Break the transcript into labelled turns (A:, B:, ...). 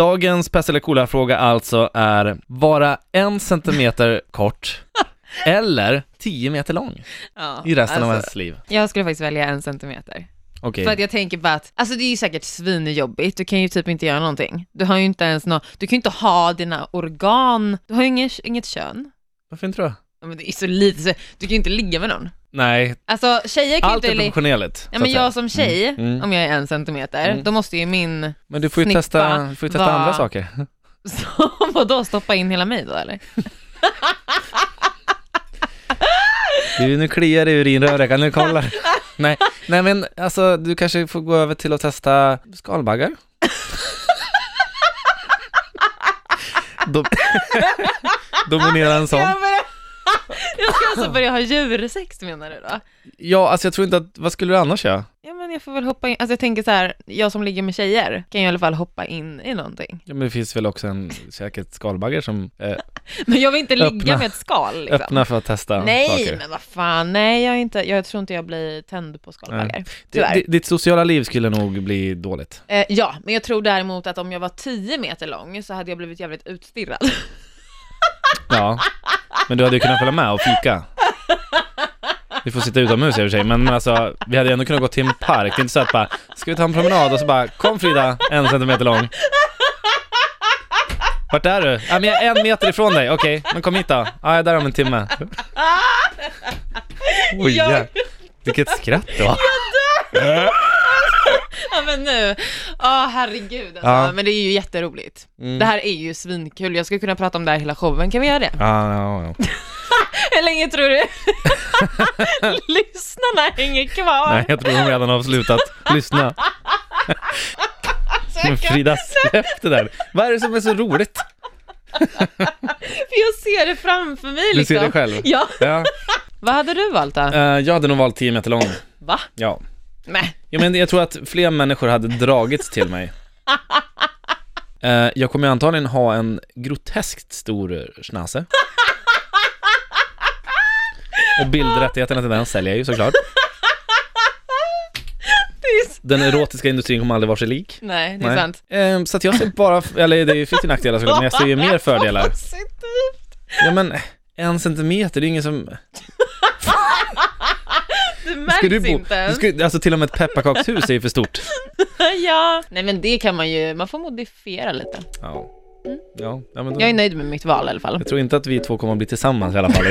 A: Dagens pest eller kolera-fråga alltså är vara en centimeter kort eller 10 meter lång
B: Ja,
A: i resten av
B: alltså,
A: ens liv.
B: Jag skulle faktiskt välja en centimeter.
A: Okej,
B: För att jag tänker bara att, alltså det är ju säkert svinjobbigt, du kan ju typ inte göra någonting. Du har ju inte ens nå, du kan ju inte ha dina organ, du har ju inget, inget kön.
A: varför inte då?
B: Ja, Men det är ju så lite, så, du kan ju inte ligga med någon.
A: Nej,
B: Alltså tjejer kan ju
A: allt
B: inte...
A: är
B: li-
A: proportionerligt. så
B: Ja, men
A: att säga.
B: jag som tjej,
A: Mm.
B: om jag är en centimeter,
A: Mm.
B: då måste ju min,
A: men du får ju
B: snippa
A: testa, du får ju testa
B: var-
A: andra saker.
B: så vadå, stoppa in hela mig då eller?
A: Du, nu kliar det i urinröret, kan du kolla? nej, nej men alltså du kanske får gå över till att testa skalbaggar? Dom- Dominera en sån.
B: Jag, börjar... jag ska alltså börja ha djursex menar du då?
A: Ja, alltså jag tror inte att, vad skulle du annars göra?
B: Ja men jag får väl hoppa in, alltså jag tänker så här, jag som ligger med tjejer kan ju i alla fall hoppa in i någonting.
A: Ja, men det finns väl också en säkert skalbaggar som är
B: Liksom. Men jag vill inte
A: Öppna-
B: ligga med ett skal liksom.
A: öppna för att testa
B: Nej
A: saker.
B: men vad fan, nej jag, är inte, jag tror inte jag blir tänd på skalbaggar.
A: D-
B: Tyvärr.
A: d- ditt sociala liv skulle nog bli dåligt.
B: Eh, ja, men jag tror däremot att om jag var 10 meter lång så hade jag blivit jävligt utstirrad.
A: Ja, men du hade ju kunnat följa med och fika. Vi får sitta utomhus i och för sig, men, men alltså vi hade ju ändå kunnat gå till en park. Det är inte så att bara, ska vi ta en promenad och så bara, kom Frida, en centimeter lång. Vart är du? Ja, men jag är en meter ifrån dig, okej, men kom hit då. Ja, jag är där om en timme. Oj,
B: Jag-
A: ja. vilket skratt det var.
B: ja men nu, ja herregud alltså.
A: Ja.
B: Men det är ju jätteroligt.
A: Mm.
B: Det här är ju svinkul, jag skulle kunna prata om det här hela showen, kan vi göra det?
A: Ja, ja, ja.
B: Hur länge tror du lyssnarna hänger kvar?
A: Nej, jag tror de redan har slutat lyssna. Men Frida, släpp det där. Vad är det som är så roligt?
B: För jag ser det framför mig
A: Du
B: liksom.
A: ser det själv.
B: Ja,
A: Ja.
B: vad hade du valt då?
A: Eh, jag hade nog valt 10 meter lång.
B: Va?
A: Ja.
B: Nej.
A: ja, men jag tror att fler människor hade dragits till mig. Eh, jag kommer ju antagligen ha en groteskt stor schnauzer. Och bildrättigheterna till den säljer jag ju såklart.
B: Det är s-
A: Den erotiska industrin kommer aldrig vara sig lik.
B: Nej, det är
A: Nej.
B: sant.
A: Eh, så att jag ser bara, eller det finns ju nackdelar såklart, alltså, men jag ser ju mer fördelar.
B: Positivt.
A: Ja men, en centimeter, det är ingen som...
B: Det märks
A: Ska du bo...
B: inte
A: Du
B: ens.
A: ska... Alltså till och med ett pepparkakshus är ju för stort.
B: ja. Nej men det kan man ju, man får modifiera lite.
A: Ja. Ja, ja men då...
B: Mm. Jag är nöjd med mitt val i alla fall.
A: Jag tror inte att vi två kommer att bli tillsammans i alla fall.